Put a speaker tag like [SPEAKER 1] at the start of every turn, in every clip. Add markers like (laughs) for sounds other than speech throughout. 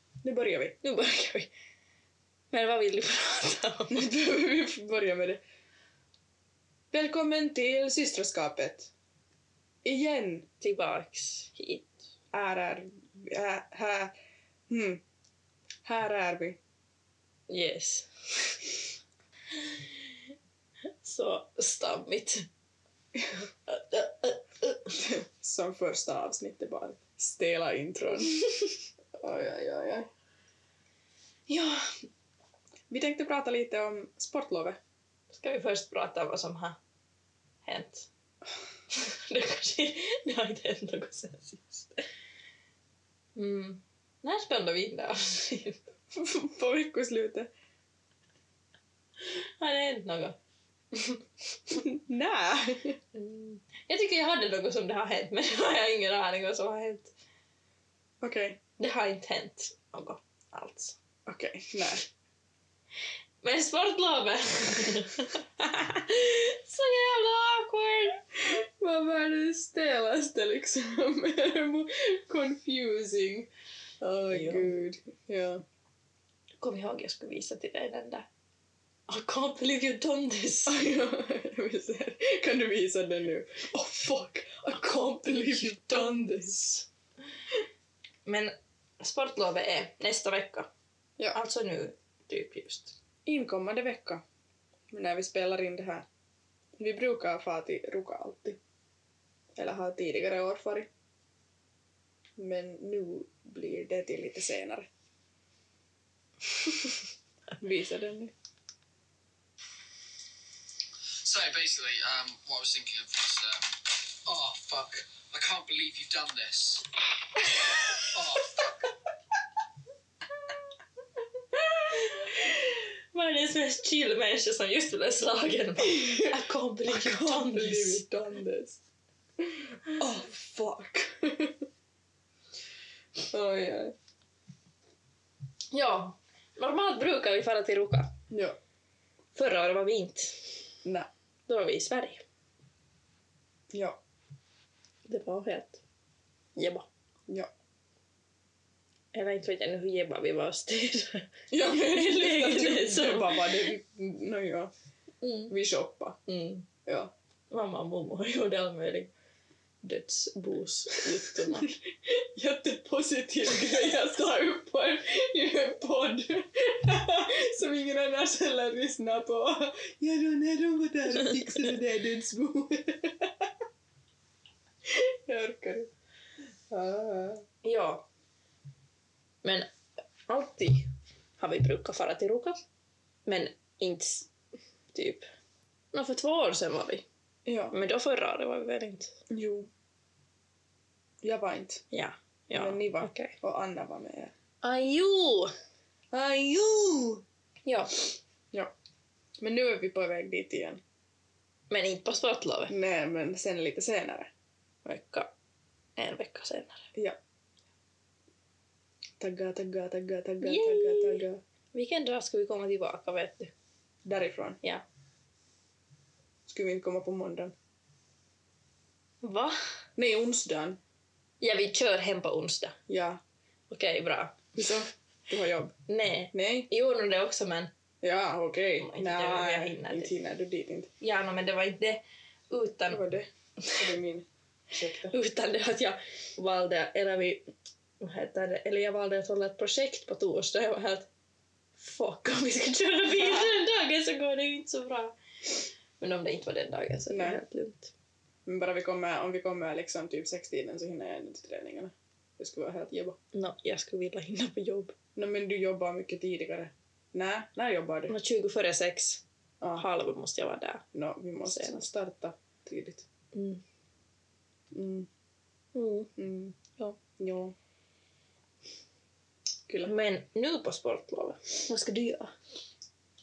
[SPEAKER 1] vi.
[SPEAKER 2] Nu börjar vi. Men vad vill du prata om?
[SPEAKER 1] (laughs) Nu behöver vi börja med det. Välkommen till systraskapet. Igen
[SPEAKER 2] Tillbaks hit.
[SPEAKER 1] här är här, här, hmm. här är vi.
[SPEAKER 2] Yes. (laughs) Så stammigt.
[SPEAKER 1] (laughs) Som första avsnittet bara. Stela
[SPEAKER 2] (laughs)
[SPEAKER 1] intron. Oj, oj, oj, oj.
[SPEAKER 2] Ja,
[SPEAKER 1] Vi tänkte prata lite om sportlovet.
[SPEAKER 2] ska vi först prata om vad som har hänt? (laughs) Det, kanske, det har inte hänt något sen sist. Mm. När spelade vi in det avsnittet?
[SPEAKER 1] (laughs)
[SPEAKER 2] (laughs)
[SPEAKER 1] På veckoslutet.
[SPEAKER 2] Har det hänt något?
[SPEAKER 1] Nej.
[SPEAKER 2] Mm. Jag tycker jag hade något som det har hänt, men (laughs) nu har jag ingen aning vad som har hänt.
[SPEAKER 1] Okej,
[SPEAKER 2] Det har inte hänt något alls.
[SPEAKER 1] okej, nej.
[SPEAKER 2] Men sportlovet! (laughs) Så jävla awkward!
[SPEAKER 1] Vad var det stelaste liksom? (laughs) Confusing. Åh
[SPEAKER 2] Ja.
[SPEAKER 1] gud. Ja. (laughs)
[SPEAKER 2] Kom ihåg, jag skulle visa till dig den där. I can't believe you've done this!
[SPEAKER 1] Ja, vi ser. kan du visa den nu? Oh fuck! I can't believe you've done this!
[SPEAKER 2] Men sportlovet är nästa vecka.
[SPEAKER 1] Ja.
[SPEAKER 2] Alltså nu, typ just.
[SPEAKER 1] Inkommande vecka, när vi spelar in det här. Vi brukar fara till Ruka alltid. Eller har tidigare år farit. Men nu blir det till lite senare. (laughs) Visa den nu.
[SPEAKER 3] So basically, um, what I was thinking of was, um, oh fuck, I can't believe you've done this. oh,
[SPEAKER 2] Vad är det som är chill människa som just blev (laughs) slagen? I can't believe
[SPEAKER 1] I
[SPEAKER 2] you've
[SPEAKER 1] can't
[SPEAKER 2] done
[SPEAKER 1] believe
[SPEAKER 2] this!
[SPEAKER 1] you've done this. Oh
[SPEAKER 2] (laughs)
[SPEAKER 1] fuck. oj, oj.
[SPEAKER 2] Ja, normalt brukar vi fara till Ruka.
[SPEAKER 1] Ja.
[SPEAKER 2] Förra året var vi inte.
[SPEAKER 1] Nej.
[SPEAKER 2] Då var vi i Sverige.
[SPEAKER 1] Ja.
[SPEAKER 2] Det var helt jebba.
[SPEAKER 1] Ja.
[SPEAKER 2] Eller inte vet jag nu hur jebba vi var (laughs) oss till.
[SPEAKER 1] Ja men (laughs) det
[SPEAKER 2] Läget är
[SPEAKER 1] är
[SPEAKER 2] så.
[SPEAKER 1] så. Det var bara det. No, ja.
[SPEAKER 2] Mm.
[SPEAKER 1] Vi shoppade.
[SPEAKER 2] Mm.
[SPEAKER 1] Ja.
[SPEAKER 2] Mamma och mormor (laughs) gjorde all möjlig dödsbosjutton.
[SPEAKER 1] Jättepositiv grej att ta upp på en, i en podd. (laughs) Som ingen annars heller lyssnar på. Ja då när de var där och fixade det där dödsboet. (laughs) Jag orkar inte. Ah.
[SPEAKER 2] (laughs) ja. Men alltid har vi brukat fara till Ruka. Men inte s- typ... Nå, för två år sedan var vi.
[SPEAKER 1] Ja.
[SPEAKER 2] Men då förra året var vi väl inte?
[SPEAKER 1] Jo. Jag var inte.
[SPEAKER 2] Ja. ja.
[SPEAKER 1] Men ni var.
[SPEAKER 2] Okej. Ah,
[SPEAKER 1] Och Anna var med.
[SPEAKER 2] Ajo!
[SPEAKER 1] Ah, Ajo!
[SPEAKER 2] Ja.
[SPEAKER 1] Men nu är vi på väg dit igen.
[SPEAKER 2] Men inte på sportlovet.
[SPEAKER 1] Nej, men sen lite senare.
[SPEAKER 2] Vecka. En vecka senare.
[SPEAKER 1] Ja. Tagga, tagga, tagga, tagga,
[SPEAKER 2] Yay!
[SPEAKER 1] tagga, tagga.
[SPEAKER 2] Vilken dag ska vi komma tillbaka vet du?
[SPEAKER 1] Därifrån.
[SPEAKER 2] Ja.
[SPEAKER 1] Skulle vi inte komma på måndagen?
[SPEAKER 2] Va?
[SPEAKER 1] Nej, onsdagen.
[SPEAKER 2] Ja, vi kör hem på onsdag.
[SPEAKER 1] Ja.
[SPEAKER 2] Okej, bra.
[SPEAKER 1] Så. Du har jobb?
[SPEAKER 2] Nej.
[SPEAKER 1] Nej?
[SPEAKER 2] Jo, nog det också, men...
[SPEAKER 1] Ja, okej.
[SPEAKER 2] Inte
[SPEAKER 1] Nej,
[SPEAKER 2] jag hinner
[SPEAKER 1] inte
[SPEAKER 2] typ. dit.
[SPEAKER 1] hinner du dit inte.
[SPEAKER 2] Ja, no, men det var inte det.
[SPEAKER 1] Det
[SPEAKER 2] Utan,
[SPEAKER 1] var det. Det var min. Ursäkta.
[SPEAKER 2] utan det att jag valde, eller vi... Vad heter det? Eller jag valde att hålla ett projekt på torsdag. Jag var helt... Fuck, om vi ska (laughs) köra bil den dagen så går det ju inte så bra. Men om det inte var den dagen så är det
[SPEAKER 1] Nej.
[SPEAKER 2] helt lugnt.
[SPEAKER 1] Men bara vi kommer, om vi kommer liksom typ sextiden så hinner jag ändå till träningarna. Det skulle vara helt jobba.
[SPEAKER 2] Nå, jag skulle vilja hinna på jobb.
[SPEAKER 1] No, men du jobbar mycket tidigare. Nej, när jobbar du?
[SPEAKER 2] Nå, 20 före sex,
[SPEAKER 1] Ah,
[SPEAKER 2] halv måste jag vara där.
[SPEAKER 1] no, vi måste
[SPEAKER 2] Senast.
[SPEAKER 1] starta tidigt.
[SPEAKER 2] Mm.
[SPEAKER 1] Mm,
[SPEAKER 2] Mm.
[SPEAKER 1] mm.
[SPEAKER 2] Ja.
[SPEAKER 1] Jo. Kyllä.
[SPEAKER 2] Men nu på sportlovet, vad ska du göra?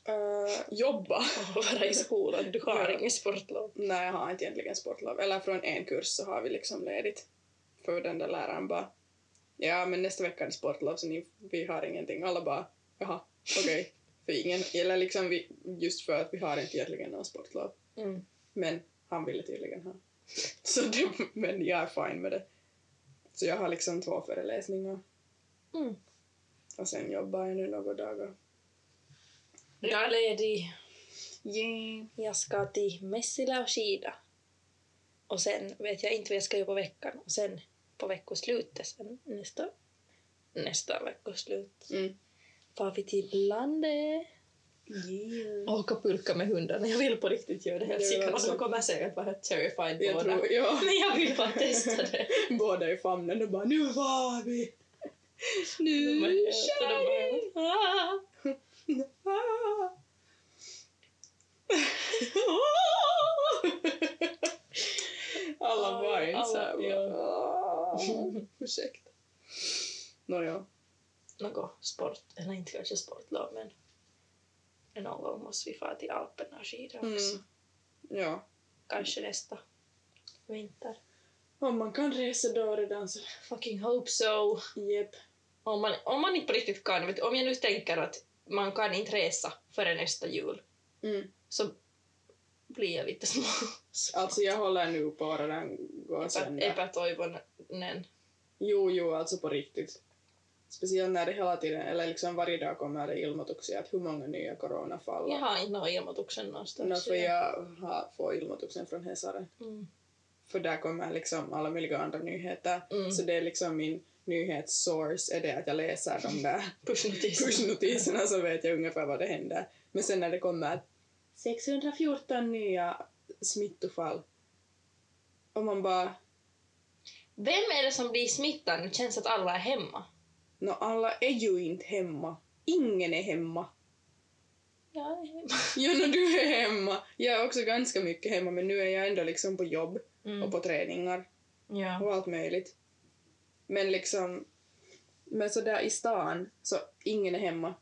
[SPEAKER 1] Äh, (laughs) jobba?
[SPEAKER 2] Och vara i skolan, du har
[SPEAKER 1] Ja.
[SPEAKER 2] ingen sportlov.
[SPEAKER 1] Nej, jag har inte egentligen sportlov. Eller från en kurs så har vi liksom ledigt. För den där läraren bara ja, men nästa vecka är det sportlov så ni, vi har ingenting. Alla bara jaha, okej.
[SPEAKER 2] (laughs)
[SPEAKER 1] för ingen, eller liksom vi, just för att vi har inte egentligen någon sportlov.
[SPEAKER 2] Mm.
[SPEAKER 1] Men han ville tydligen ha. (laughs) Så det, men jag är fine med det. Så jag har liksom två föreläsningar.
[SPEAKER 2] Mm.
[SPEAKER 1] Och sen jobbar jag nu några dagar.
[SPEAKER 2] Jag är ledig.
[SPEAKER 1] Yeah.
[SPEAKER 2] Jag ska till Messila och skida. Och sen vet jag inte vad jag ska göra på veckan. Och sen på veckoslutet, sen nästa, nästa veckoslut,
[SPEAKER 1] Mm.
[SPEAKER 2] far vi till landet. Åka pulka med hundarna. Jag vill på riktigt göra det.
[SPEAKER 1] Det
[SPEAKER 2] Jag
[SPEAKER 1] vill jag
[SPEAKER 2] tycker att
[SPEAKER 1] också.
[SPEAKER 2] de kommer säkert vara helt terrified
[SPEAKER 1] Jag
[SPEAKER 2] båda.
[SPEAKER 1] tror, ja.
[SPEAKER 2] (laughs) Men jag vill bara testa det.
[SPEAKER 1] Båda i famnen och bara nu var vi! (laughs) Nu
[SPEAKER 2] Så de
[SPEAKER 1] kör vi!
[SPEAKER 2] bara, "Ah."
[SPEAKER 1] Ah. (laughs) Alla var inte
[SPEAKER 2] Alla-
[SPEAKER 1] såhär
[SPEAKER 2] ja.
[SPEAKER 1] bara... Ursäkta. Nåja.
[SPEAKER 2] Något sport, eller inte kanske sportlov men någon gång måste vi fara till Alperna och skida också.
[SPEAKER 1] Mm. Ja.
[SPEAKER 2] Kanske nästa vinter.
[SPEAKER 1] Om man kan resa då redan så...
[SPEAKER 2] Fucking hope so.
[SPEAKER 1] Jep.
[SPEAKER 2] Om man, om man inte på riktigt kan, vet, om jag nu tänker att man kan inte resa före nästa jul
[SPEAKER 1] Mm.
[SPEAKER 2] så blir jag lite små. (laughs)
[SPEAKER 1] Alltså jag håller nu på att redan gå
[SPEAKER 2] Epä-
[SPEAKER 1] sönder.
[SPEAKER 2] Epätoivonen.
[SPEAKER 1] Jo, jo, alltså på riktigt. Speciellt när det hela tiden, eller liksom varje dag kommer det ilmoituksia, att hur många nya coronafall.
[SPEAKER 2] Jag har inte någon ilmoituksen någonstans.
[SPEAKER 1] No, för jag har, får ilmoituksen från Hesaren.
[SPEAKER 2] Mm.
[SPEAKER 1] För där kommer liksom alla möjliga andra nyheter.
[SPEAKER 2] Mm.
[SPEAKER 1] Så det är liksom min nyhetssource är det att jag läser de där
[SPEAKER 2] Pushnotiser.
[SPEAKER 1] pushnotiserna så vet jag ungefär vad det händer. Men sen när det kommer att 614 nya smittofall och man bara,
[SPEAKER 2] (laughs) Vem är det som blir smittad? Det känns att alla är hemma.
[SPEAKER 1] nå no alla är ju inte hemma. Ingen är hemma.
[SPEAKER 2] Jag är hemma.
[SPEAKER 1] Jo, nå du är hemma. Jag är också ganska mycket hemma men nu är jag ändå liksom på jobb och på träningar.
[SPEAKER 2] Mm. Ja.
[SPEAKER 1] och allt möjligt. Men liksom, men så där i stan så ingen är hemma.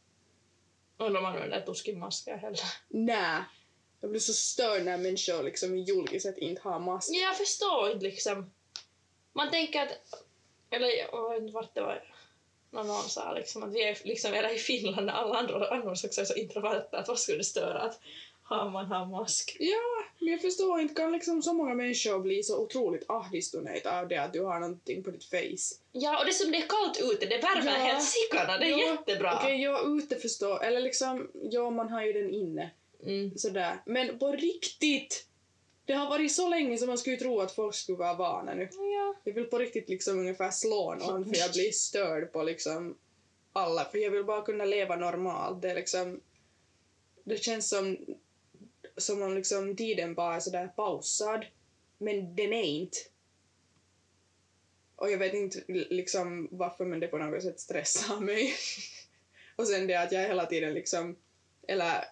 [SPEAKER 2] Undrar om man använder toskig masker heller.
[SPEAKER 1] Nä! Jag blir så störd när människor liksom i julgiset inte har mask.
[SPEAKER 2] Ja, Jag förstår inte liksom. Man tänker att... Eller jag vet inte vart det var. Någon annan sa liksom att vi är liksom redan i Finland när alla andra annars också är så introverta att vad skulle det störa att har man har mask?
[SPEAKER 1] Men jag förstår inte, kan liksom så många människor bli så otroligt ahdistuneita av det att du har någonting på ditt face?
[SPEAKER 2] Ja, och det som det är kallt ute, det värmer
[SPEAKER 1] Ja.
[SPEAKER 2] helt sickarna. Det är
[SPEAKER 1] Ja.
[SPEAKER 2] jättebra.
[SPEAKER 1] Okej, jag ute förstår, eller liksom, ja man har ju den inne.
[SPEAKER 2] Mm.
[SPEAKER 1] Sådär. Men på riktigt! Det har varit så länge som man skulle tro att folk skulle vara vana nu.
[SPEAKER 2] Ja.
[SPEAKER 1] Jag vill på riktigt liksom ungefär slå någon för jag blir störd på liksom alla. För jag vill bara kunna leva normalt. Det är liksom... Det känns som, som om liksom tiden bara är sådär pausad. Men den är inte. Och jag vet inte liksom varför men det på något sätt stressar mig. (laughs) och sen det att jag hela tiden liksom... Eller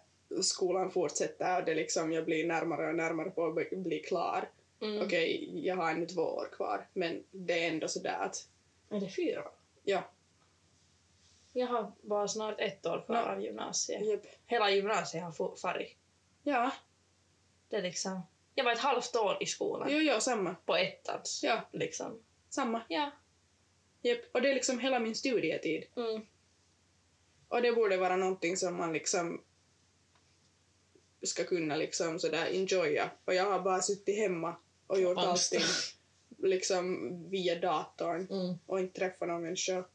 [SPEAKER 1] skolan fortsätter och det liksom jag blir närmare och närmare på att bli- bli klar.
[SPEAKER 2] Mm.
[SPEAKER 1] Okej, jag har ännu två år kvar, men det är ändå sådär att...
[SPEAKER 2] Är det fyra?
[SPEAKER 1] Ja.
[SPEAKER 2] Jag har bara snart ett år kvar
[SPEAKER 1] Ja.
[SPEAKER 2] av gymnasiet.
[SPEAKER 1] Japp.
[SPEAKER 2] Hela gymnasiet har fo- farit.
[SPEAKER 1] Ja,
[SPEAKER 2] Det är liksom... Jag var ett halvt år i skolan
[SPEAKER 1] jo, jo, samma.
[SPEAKER 2] på ettans.
[SPEAKER 1] Ja,
[SPEAKER 2] Liksom.
[SPEAKER 1] samma.
[SPEAKER 2] Ja.
[SPEAKER 1] Japp. Och det är liksom hela min studietid.
[SPEAKER 2] Mm.
[SPEAKER 1] Och det borde vara någonting som man liksom ska kunna liksom sådär enjoya. Och jag har bara suttit hemma och gjort
[SPEAKER 2] Angst.
[SPEAKER 1] allting liksom via datorn
[SPEAKER 2] Mm.
[SPEAKER 1] och inte träffat någon människa.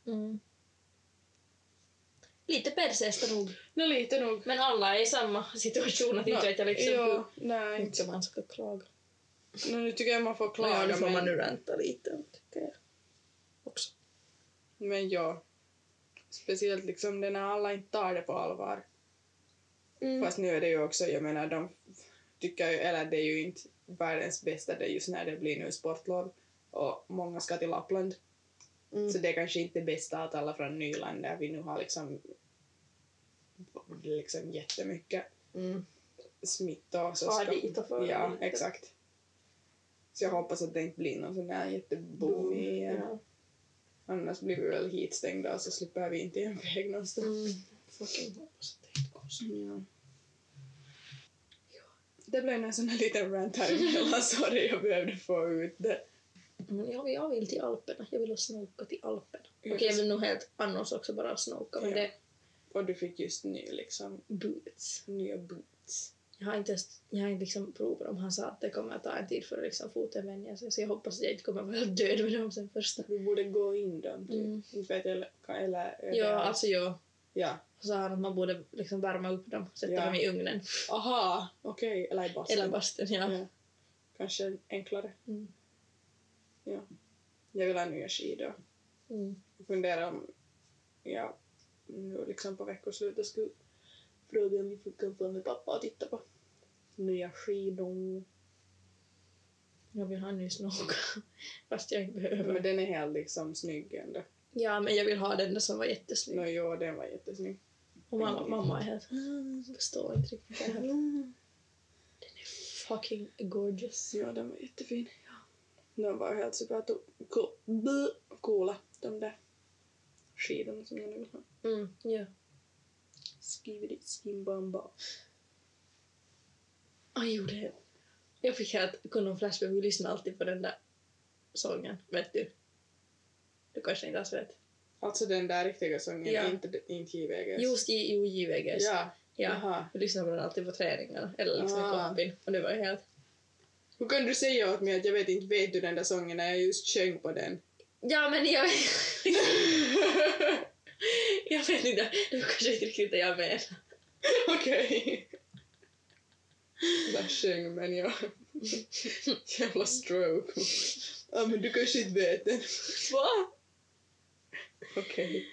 [SPEAKER 2] Lite persästa nog.
[SPEAKER 1] Nå, lite nog.
[SPEAKER 2] Men alla är i samma situation. Att
[SPEAKER 1] Nå,
[SPEAKER 2] inte vet jag liksom
[SPEAKER 1] jo,
[SPEAKER 2] hur
[SPEAKER 1] nej.
[SPEAKER 2] mycket man ska klaga.
[SPEAKER 1] Nå, nu tycker jag man får
[SPEAKER 2] Men ja,
[SPEAKER 1] klaga, men, men,
[SPEAKER 2] ranta lite. tycker jag. Också.
[SPEAKER 1] ja. Speciellt liksom det när alla inte tar det på allvar.
[SPEAKER 2] Mm.
[SPEAKER 1] Fast nu är det ju också, jag menar de tycker ju, eller det är ju inte världens bästa det är just när det blir nu sportlov och många ska till Lappland.
[SPEAKER 2] Mm.
[SPEAKER 1] Så det är kanske inte det bästa att alla från Nyland där vi nu har liksom, liksom jättemycket
[SPEAKER 2] Mm.
[SPEAKER 1] smitta. och Så
[SPEAKER 2] Far dit och för
[SPEAKER 1] Ja,
[SPEAKER 2] lite.
[SPEAKER 1] exakt. Så jag hoppas att det inte blir någon sån här jätteboom igen.
[SPEAKER 2] Ja.
[SPEAKER 1] Annars blir vi väl hitstängda och så slipper vi inte iväg någonstans.
[SPEAKER 2] Mm. Fucking hoppas att det inte går så.
[SPEAKER 1] Ja. Det blev en sån här liten rant här
[SPEAKER 2] (laughs)
[SPEAKER 1] emellan, sorry jag behövde få ut det.
[SPEAKER 2] Men jag, jag vill till Alperna. Jag vill snoka till Alperna.
[SPEAKER 1] Ja.
[SPEAKER 2] Okej, jag vill nog helt annars också bara snoka. Men
[SPEAKER 1] Ja.
[SPEAKER 2] det är
[SPEAKER 1] Och du fick just ny liksom,
[SPEAKER 2] boots.
[SPEAKER 1] nya boots.
[SPEAKER 2] Jag har inte, ens- jag har inte liksom provat dem. Han sa att det kommer att ta en tid för att liksom foten vänja sig. Så jag hoppas att jag inte kommer att vara död med dem sen första.
[SPEAKER 1] Du borde gå in dem typ.
[SPEAKER 2] Mm.
[SPEAKER 1] Inte vet jag, eller- kan- eller... eller-
[SPEAKER 2] Ja, alltså jag
[SPEAKER 1] Ja.
[SPEAKER 2] sa han att man borde liksom värma upp dem. Sätta
[SPEAKER 1] Ja.
[SPEAKER 2] dem i ugnen.
[SPEAKER 1] Aha, okej. Eller i bastun.
[SPEAKER 2] Eller bastun, Alltså. ja.
[SPEAKER 1] Ja. Kanske enklare.
[SPEAKER 2] Mm.
[SPEAKER 1] Jag vill ha nya skidor.
[SPEAKER 2] Mm.
[SPEAKER 1] Jag funderar om jag nu liksom på veckoslutet skulle fråga om vi kan få med pappa och titta på nya skidor.
[SPEAKER 2] Jag vill ha en ny snorkel. (laughs) Fast jag inte behöver.
[SPEAKER 1] Men den är helt liksom snygg ändå.
[SPEAKER 2] Ja, men jag vill ha den där som var jättesnygg.
[SPEAKER 1] Nå jo, den var jättesnygg.
[SPEAKER 2] Och mamma, mamma är helt... "Mm, Förstår inte riktigt. Jag är helt, (laughs) Fucking gorgeous.
[SPEAKER 1] Ja, den var jättefin. De var helt super coola, de där skidorna som jag nu vill ha.
[SPEAKER 2] Mm, ja.
[SPEAKER 1] Skividi, skimbamba.
[SPEAKER 2] Ah, Jag gjorde det. Jag fick helt Kondom Flashback. Vi lyssnade alltid på den där sången. Vet du? Du kanske inte alls vet?
[SPEAKER 1] Alltså den där riktiga sången,
[SPEAKER 2] Ja.
[SPEAKER 1] inte, inte JVGs.
[SPEAKER 2] Just i Jo JVGs.
[SPEAKER 1] Ja,
[SPEAKER 2] ja.
[SPEAKER 1] jaha.
[SPEAKER 2] Vi lyssnade på den alltid på träningarna. Eller liksom i
[SPEAKER 1] Ah.
[SPEAKER 2] kompin. Och det var helt...
[SPEAKER 1] Hur kan du säga åt mig att jag vet inte vet du den där sången när jag just sjöng på
[SPEAKER 2] (laughs)
[SPEAKER 1] den? (laughs)
[SPEAKER 2] Ja, men jag... (laughs) jag vet inte. Det var kanske inte riktigt det jag menar.
[SPEAKER 1] (laughs) Okej. Jag sjöng men jag... (laughs) Jävla stroke. Ja men du kanske inte vet den.
[SPEAKER 2] Va?
[SPEAKER 1] Okej.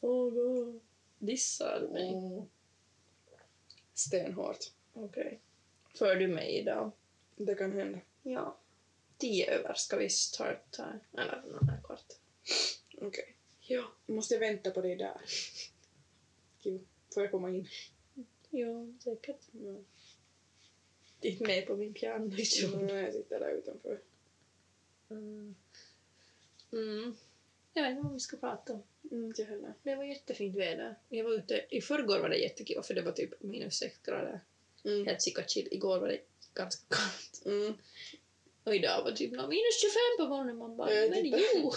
[SPEAKER 2] Åh, oh, Dissar du mig?
[SPEAKER 1] Stenhårt.
[SPEAKER 2] Okej. För du mig idag?
[SPEAKER 1] Det kan hända.
[SPEAKER 2] Ja. Tio över ska vi starta. Eller nån här kvart.
[SPEAKER 1] Okej.
[SPEAKER 2] Ja.
[SPEAKER 1] Måste jag vänta på dig där? Gud, får jag komma in?
[SPEAKER 2] Ja, säkert.
[SPEAKER 1] Ja.
[SPEAKER 2] Inte med på min pianolektion.
[SPEAKER 1] Nej, jag sitter där utanför.
[SPEAKER 2] Mm. Mm. Jag vet inte vad vi ska prata om.
[SPEAKER 1] Mm, inte jag heller.
[SPEAKER 2] Det var jättefint väder. Jag var ute, I förrgår var det jättekul för det var typ minus sex grader.
[SPEAKER 1] Mm.
[SPEAKER 2] Helt sicka chill. Igår var det ganska kallt.
[SPEAKER 1] Mm.
[SPEAKER 2] Och idag var det typ nå minus 25 på morgonen. Man bara,
[SPEAKER 1] Ja,
[SPEAKER 2] men
[SPEAKER 1] titta.
[SPEAKER 2] jo!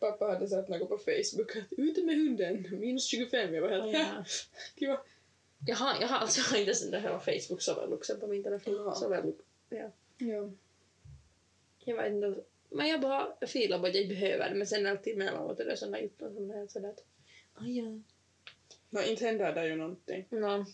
[SPEAKER 1] Pappa hade satt något på Facebook att ute med hunden, minus 25. Jag var helt...
[SPEAKER 2] Ja.
[SPEAKER 1] Gud, vad-
[SPEAKER 2] Jag har, jag har alltså (laughs) inte ens den där hela Facebook-sovelluxen på min telefon.
[SPEAKER 1] Jaha.
[SPEAKER 2] Sovellux.
[SPEAKER 1] Ja.
[SPEAKER 2] Jag vet inte. Men jag bara filar på att jag inte behöver det. Men sen alltid emellanåt är det sådana yttranden som det är sådär att... Aj, ja.
[SPEAKER 1] Nå, inte händer det ju någonting.
[SPEAKER 2] No.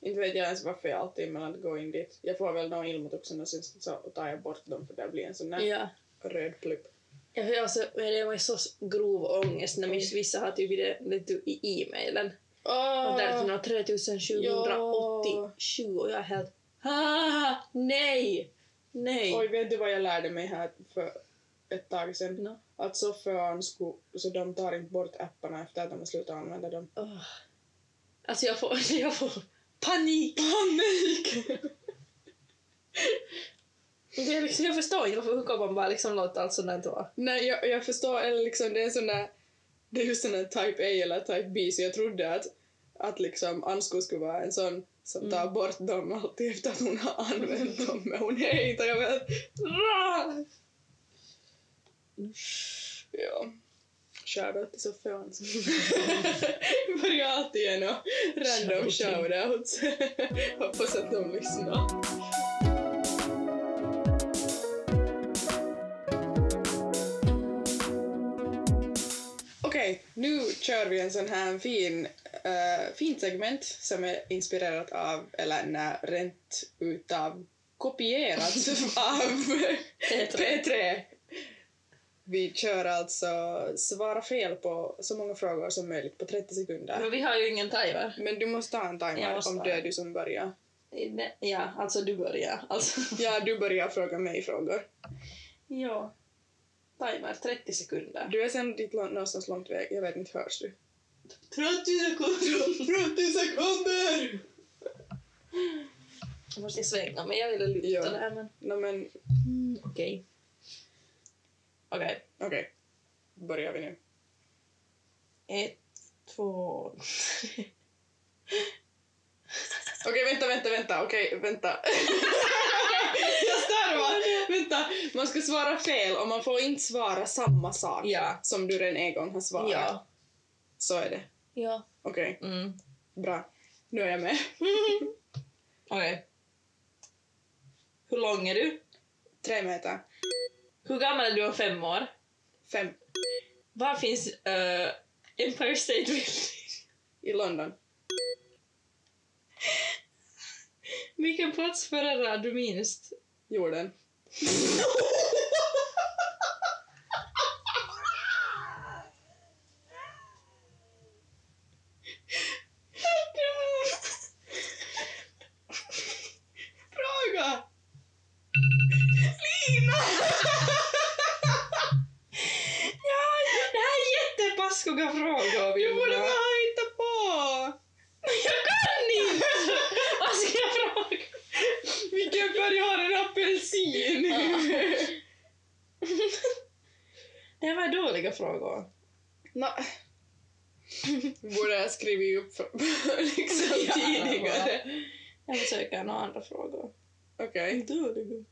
[SPEAKER 1] Inte vet jag ens varför jag alltid emellanåt går in dit. Jag får väl några ilmoituksen och sen så tar jag bort dem för det blir en sån där
[SPEAKER 2] Ja.
[SPEAKER 1] röd plupp.
[SPEAKER 2] Jag hör alltså, men det var ju så grov ångest när min vissa har typ i det- det typ i e-mailen. Och där är det några 3787 och jag är helt... Ah, nej! Nej!
[SPEAKER 1] Oj, vet du vad jag lärde mig här för ett tag sedan?
[SPEAKER 2] No.
[SPEAKER 1] Att soffan sko, så de tar inte bort apparna efter att de har slutat använda dem.
[SPEAKER 2] Åh. Alltså jag får, (laughs) jag får panik!
[SPEAKER 1] Panik!
[SPEAKER 2] Det är liksom, jag förstår inte varför hur kan man bara liksom låta allt sånt där vara.
[SPEAKER 1] Nej, jag, jag förstår, eller liksom det är en sån där, det är ju sån där type A eller type B så jag trodde att, att liksom Ansko skulle vara en sån som tar
[SPEAKER 2] Mm.
[SPEAKER 1] bort dem alltid efter att hon har använt dem men hon är inte, jag vet. Rah! Ja. Shoutout till Sofia Hansson. (laughs) Börjar alltid ge några random
[SPEAKER 2] Shouting.
[SPEAKER 1] shoutouts. (laughs) Hoppas att de lyssnar. Okej, nu kör vi en sån här fin, eh, fint segment som är inspirerat av, eller nej, rent utav, kopierat (laughs) av P3. Vi kör alltså svara fel på så många frågor som möjligt på 30 sekunder.
[SPEAKER 2] Men vi har ju ingen timer.
[SPEAKER 1] Men du måste ha en
[SPEAKER 2] Mm. Jag
[SPEAKER 1] timer
[SPEAKER 2] måste
[SPEAKER 1] om
[SPEAKER 2] ha
[SPEAKER 1] det är
[SPEAKER 2] det.
[SPEAKER 1] du som börjar.
[SPEAKER 2] Nej, Ja, alltså du börjar. Alltså.
[SPEAKER 1] Ja, du börjar fråga mig frågor.
[SPEAKER 2] ja. Timer 30 sekunder.
[SPEAKER 1] Du är sen dit lång, någonstans långt väg. Jag vet inte, hörs du?
[SPEAKER 2] 30 sekunder!
[SPEAKER 1] 30 sekunder!
[SPEAKER 2] Jag måste svänga men jag ville luta
[SPEAKER 1] Ja.
[SPEAKER 2] där men... Mm,
[SPEAKER 1] Nå men,
[SPEAKER 2] Okej. Okej.
[SPEAKER 1] okej. Börjar vi nu.
[SPEAKER 2] Ett, (laughs) två...
[SPEAKER 1] Okej, vänta, vänta, vänta. Okej, vänta. (laughs) jag starvar! Vänta. Man ska svara fel och man får inte svara samma sak
[SPEAKER 2] Ja.
[SPEAKER 1] som du redan en gång har svarat.
[SPEAKER 2] Ja.
[SPEAKER 1] Så är det.
[SPEAKER 2] Ja.
[SPEAKER 1] Okej,
[SPEAKER 2] Mm. (laughs)
[SPEAKER 1] bra. Nu är jag med.
[SPEAKER 2] Okej. Hur lång är du?
[SPEAKER 1] Tre meter.
[SPEAKER 2] Hår gammal är du om fem år?
[SPEAKER 1] Fem.
[SPEAKER 2] Var finns eh, Empire State Building?
[SPEAKER 1] I London.
[SPEAKER 2] Vilken plats föredrar du minst?
[SPEAKER 1] Jorden. Fråga! Lina!
[SPEAKER 2] Ja, det här är jättepaskiga frågor,
[SPEAKER 1] Du borde
[SPEAKER 2] Vilma.
[SPEAKER 1] bara
[SPEAKER 2] (laughs)
[SPEAKER 1] ha hittat på!
[SPEAKER 2] Jag kan inte! Vad ska jag fråga?
[SPEAKER 1] Vilken färg har en apelsin?
[SPEAKER 2] (laughs) Det här var dåliga (laughs) frågor.
[SPEAKER 1] Nå. Vi borde ha skrivit upp för, (laughs) liksom
[SPEAKER 2] Ja,
[SPEAKER 1] tidigare.
[SPEAKER 2] Jag försöker några andra frågor.
[SPEAKER 1] Okej,
[SPEAKER 2] Dåliga.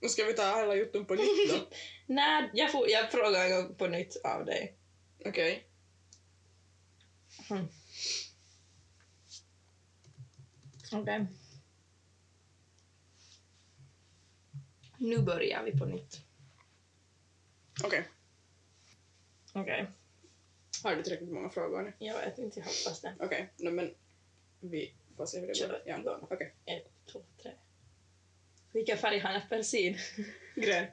[SPEAKER 1] nu ska vi ta hela jutton på nytt då.
[SPEAKER 2] Nej, jag, får, jag frågar en gång på nytt av dig.
[SPEAKER 1] Okej.
[SPEAKER 2] Mm. Okej. Nu börjar vi på nytt.
[SPEAKER 1] Okej.
[SPEAKER 2] Okej.
[SPEAKER 1] Har du tillräckligt många frågor nu?
[SPEAKER 2] Jag vet inte, jag hoppas det.
[SPEAKER 1] Okej, nå men vi får se hur det går.
[SPEAKER 2] Kör
[SPEAKER 1] Ja.
[SPEAKER 2] igång.
[SPEAKER 1] Okej.
[SPEAKER 2] Ett, två, tre. Vilken färg har en apelsin?
[SPEAKER 1] Grön.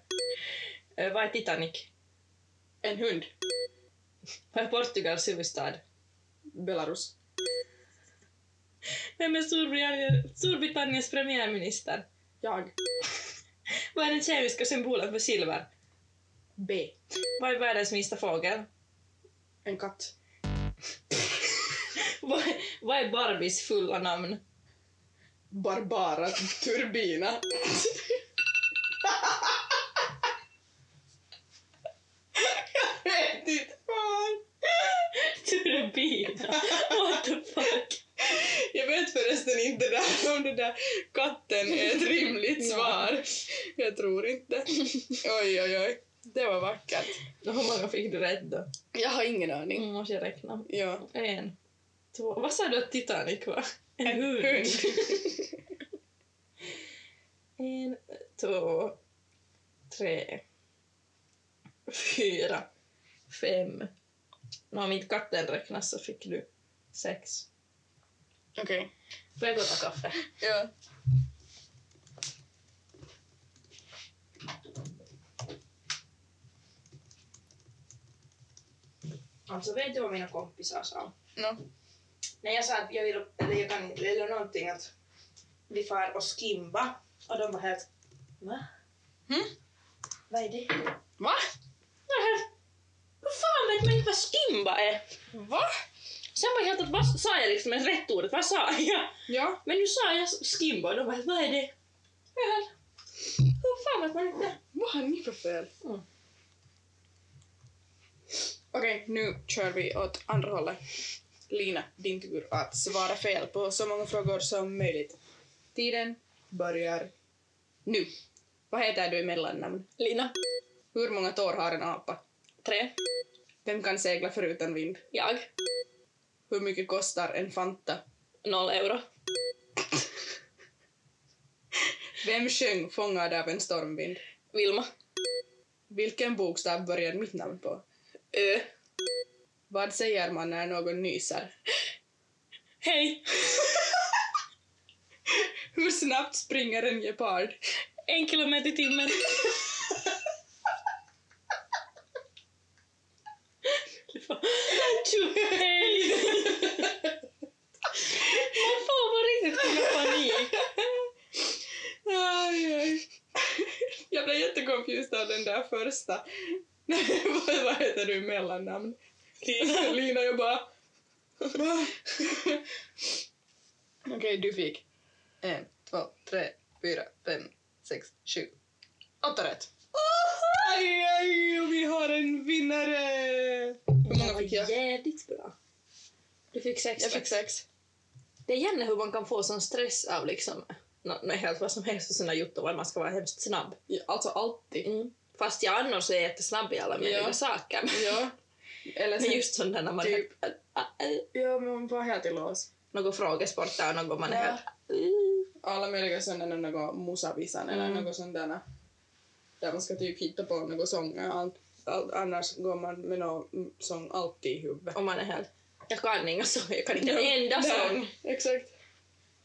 [SPEAKER 2] Eh, Vad är Titanic?
[SPEAKER 1] En hund.
[SPEAKER 2] Vad är Portugals huvudstad?
[SPEAKER 1] Belarus.
[SPEAKER 2] Vem är Storbritannien, Storbritanniens premiärminister? (laughs)
[SPEAKER 1] Jag.
[SPEAKER 2] Vad är den kemiska symbolen för silver?
[SPEAKER 1] B.
[SPEAKER 2] Vad är världens minsta fågel? (laughs)
[SPEAKER 1] En katt.
[SPEAKER 2] Vad är, vad är Barbies fulla namn?
[SPEAKER 1] Barbara Turbina. Jag vet inte fan. (laughs)
[SPEAKER 2] Turbina! What the fuck?
[SPEAKER 1] Jag vet förresten inte där om det där katten är ett rimligt svar. Jag tror inte. Oj, oj, oj. Det var vackert.
[SPEAKER 2] (laughs) Hur många fick du rätt då?
[SPEAKER 1] Jag har ingen aning.
[SPEAKER 2] Nu måste jag räkna.
[SPEAKER 1] Ja.
[SPEAKER 2] En, två... Vad sa du att Titanic var? En, hund. En, två, tre, fyra, fem. Nå, om inte katten räknas så fick du sex.
[SPEAKER 1] (laughs) Okej.
[SPEAKER 2] Får jag gå och ta kaffe?
[SPEAKER 1] Ja.
[SPEAKER 2] Alltså, vet du vad mina kompisar sa?
[SPEAKER 1] No.
[SPEAKER 2] När jag sa att jag vill, eller jag kan inte, eller någonting att vi far och skimba. Och de var helt, va?
[SPEAKER 1] Mm.
[SPEAKER 2] Vad är det?
[SPEAKER 1] Va?
[SPEAKER 2] Hur fan vet man inte vad skimba är?
[SPEAKER 1] Va?
[SPEAKER 2] Sen var jag helt att, vad sa jag liksom ens rätt ordet? Vad sa jag?
[SPEAKER 1] Ja.
[SPEAKER 2] Men nu sa jag skimba och de bara, vad är det? Jag bara, Hur fan vet man inte?
[SPEAKER 1] Vad har ni för fel?
[SPEAKER 2] Mm.
[SPEAKER 1] Okej, nu kör vi åt andra hållet. Lina, din tur att svara fel på så många frågor som möjligt. Tiden börjar nu. Vad heter du i mellannamn?
[SPEAKER 2] Lina.
[SPEAKER 1] Hur många tår har en apa?
[SPEAKER 2] Tre.
[SPEAKER 1] Vem kan segla förutan vind?
[SPEAKER 2] Jag.
[SPEAKER 1] Hur mycket kostar en Fanta?
[SPEAKER 2] Noll euro.
[SPEAKER 1] Vem sjöng Fångad av en stormvind?
[SPEAKER 2] Vilma.
[SPEAKER 1] Vilken bokstav börjar mitt namn på?
[SPEAKER 2] Ö.
[SPEAKER 1] Vad säger man när någon nyser?
[SPEAKER 2] Hej.
[SPEAKER 1] Hur snabbt springer en gepard?
[SPEAKER 2] En kilometer i timmen. Hej! Man får på riktigt kunna panik.
[SPEAKER 1] Aj, aj. Jag blev jättekonfused av den där första. (laughs) vad, vad heter du i mellannamn? Lina. Lina, jag bara... Va? Okej, du fick en, två, tre, fyra, fem, sex, sju, åtta rätt. Aj, aj, och vi har en vinnare! Hur många fick jag?
[SPEAKER 2] jävligt bra. Du fick sex.
[SPEAKER 1] Jag fick sex.
[SPEAKER 2] Det är gärna hur man kan få sån stress av liksom, nå- nå- helt vad som helst och sina juttovar. Man ska vara hemskt snabb.
[SPEAKER 1] Ja, Alltså alltid.
[SPEAKER 2] Mm. Fast jag annars är jättesnabb i alla möjliga
[SPEAKER 1] Ja.
[SPEAKER 2] saker.
[SPEAKER 1] Ja. Eller
[SPEAKER 2] Men
[SPEAKER 1] sen,
[SPEAKER 2] just sån där när man är Äh,
[SPEAKER 1] Typ.
[SPEAKER 2] helt-
[SPEAKER 1] Ja, men man var helt i lås.
[SPEAKER 2] någon frågesport där och någon man är
[SPEAKER 1] Ja.
[SPEAKER 2] helt...
[SPEAKER 1] alla möjliga sådana något niinku musavisan niinku eller
[SPEAKER 2] Mm.
[SPEAKER 1] något sånt där. Där man ska typ hitta på några sånger. Allt, allt, annars går man med någon sång alltid i huvudet.
[SPEAKER 2] Om man är helt... Jag kan inga sånger, jag kan inte en enda
[SPEAKER 1] Där,
[SPEAKER 2] sång.
[SPEAKER 1] Exakt.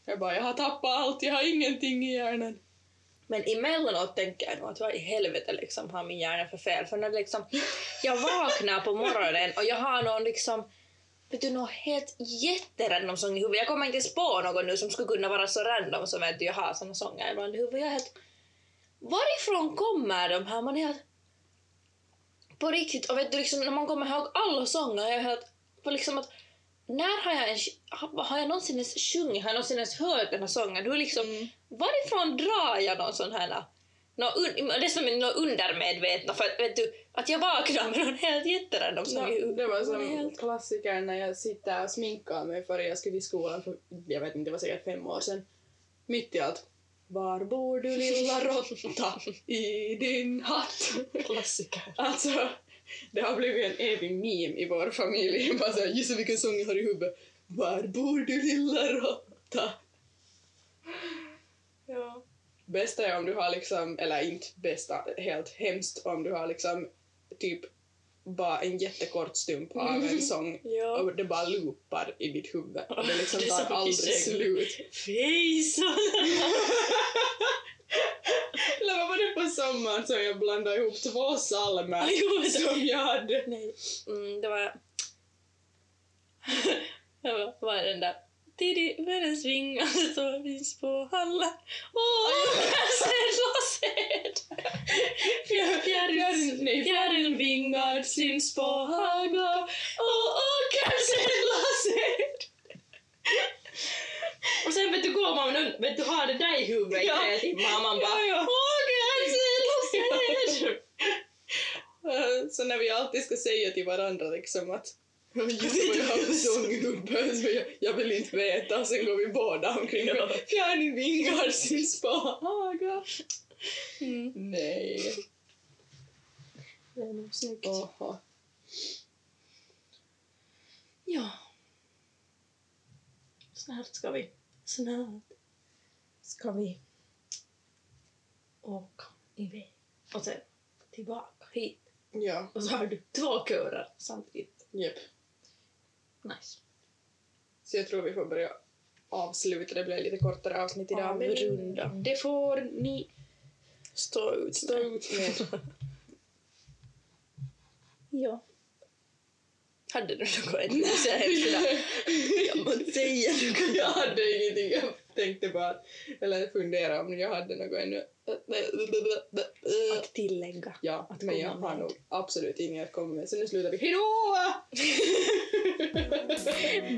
[SPEAKER 1] Jag bara, jag har tappat allt, jag har ingenting i hjärnan.
[SPEAKER 2] Men emellanåt tänker jag nog att vad i helvete liksom har min hjärna för fel? För när det liksom, jag vaknar på morgonen och jag har någon liksom Vet du, någon helt jätterandom sång i huvudet. Jag kommer inte ens på någon nu som skulle kunna vara så random som att jag har såna sånger ibland i huvudet. Jag är helt... Varifrån kommer de här? Man är helt... På riktigt. Och vet du, liksom, när man kommer ihåg alla sånger, jag är helt... På liksom att, när har jag, ens, har, har jag någonsin ens sjungit? Har jag någonsin ens hört den här sången? Hur liksom...
[SPEAKER 1] Mm.
[SPEAKER 2] Varifrån drar jag någon sån här... Någon un, det är som är någon undermedvetna. För att, vet du, att jag vaknar med någon helt jätterandom sång
[SPEAKER 1] Ja,
[SPEAKER 2] i huvudet.
[SPEAKER 1] det var
[SPEAKER 2] Man är
[SPEAKER 1] som
[SPEAKER 2] helt-
[SPEAKER 1] klassiker när jag sitter och sminkar mig före jag skulle till skolan för jag vet inte, det var säkert fem år sedan. Mitt i allt. Var bor du lilla råtta? I din hatt.
[SPEAKER 2] Klassiker.
[SPEAKER 1] Alltså, det har blivit en evig meme i vår familj. (laughs) Bara såhär, gissa vilken sång jag har i huvudet. Var bor du lilla råtta?
[SPEAKER 2] Ja.
[SPEAKER 1] Bästa är om du har liksom, eller inte bästa, helt hemskt om du har liksom typ bara en jättekort stump av en sång
[SPEAKER 2] Mm. (laughs) ja.
[SPEAKER 1] och det bara loopar i ditt huvud.
[SPEAKER 2] (laughs)
[SPEAKER 1] Och det liksom
[SPEAKER 2] Det är
[SPEAKER 1] tar
[SPEAKER 2] så
[SPEAKER 1] aldrig
[SPEAKER 2] mycket säng.
[SPEAKER 1] slut.
[SPEAKER 2] (laughs)
[SPEAKER 1] Eller vad var det på sommaren som jag blandade ihop två psalmer
[SPEAKER 2] (laughs)
[SPEAKER 1] som jag hade?
[SPEAKER 2] Nej. Mm, det var... (laughs) det var- var den där... Titti, världens vingar står finns på alla Åh, Säd, säd!
[SPEAKER 1] Fjäril- nej,
[SPEAKER 2] Fjärilen vingar syns på hagar Åh, åker, (laughs) säd, Och sen vet du, går man och vet du, har det där i huvudet i
[SPEAKER 1] Ja.
[SPEAKER 2] tre timmar och man bara
[SPEAKER 1] Ja, ja.
[SPEAKER 2] åker, säd, säd!
[SPEAKER 1] Eh, Så när vi alltid ska säga till varandra liksom att Just vad jag har för sång i huvudet, så jag- jag vill inte veta. Och Sen går vi båda omkring
[SPEAKER 2] Ja.
[SPEAKER 1] med fjärilen vingar syns på hagar.
[SPEAKER 2] Mm.
[SPEAKER 1] Nej.
[SPEAKER 2] Det är nog snyggt.
[SPEAKER 1] Oho.
[SPEAKER 2] Ja. Snart ska vi. Snart ska vi åka iväg. Och sen tillbaka hit.
[SPEAKER 1] Ja,
[SPEAKER 2] Och så har du två körer samtidigt.
[SPEAKER 1] japp.
[SPEAKER 2] Nice.
[SPEAKER 1] Så jag tror vi får börja avsluta. Det blir lite kortare avsnitt idag.
[SPEAKER 2] Avrunda.
[SPEAKER 1] Men det får ni
[SPEAKER 2] Stå ut.
[SPEAKER 1] stå ut med.
[SPEAKER 2] Ja. Hade du något att nu så (laughs) här Jag måste säga något.
[SPEAKER 1] jag hade ingenting. Jag tänkte bara, eller fundera om jag hade något ännu.
[SPEAKER 2] Att tillägga.
[SPEAKER 1] Ja,
[SPEAKER 2] Att
[SPEAKER 1] men jag
[SPEAKER 2] komma
[SPEAKER 1] har
[SPEAKER 2] med.
[SPEAKER 1] nog absolut inget att komma med. Så nu slutar vi. Hejdå!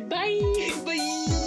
[SPEAKER 2] (laughs) Bye!
[SPEAKER 1] Bye!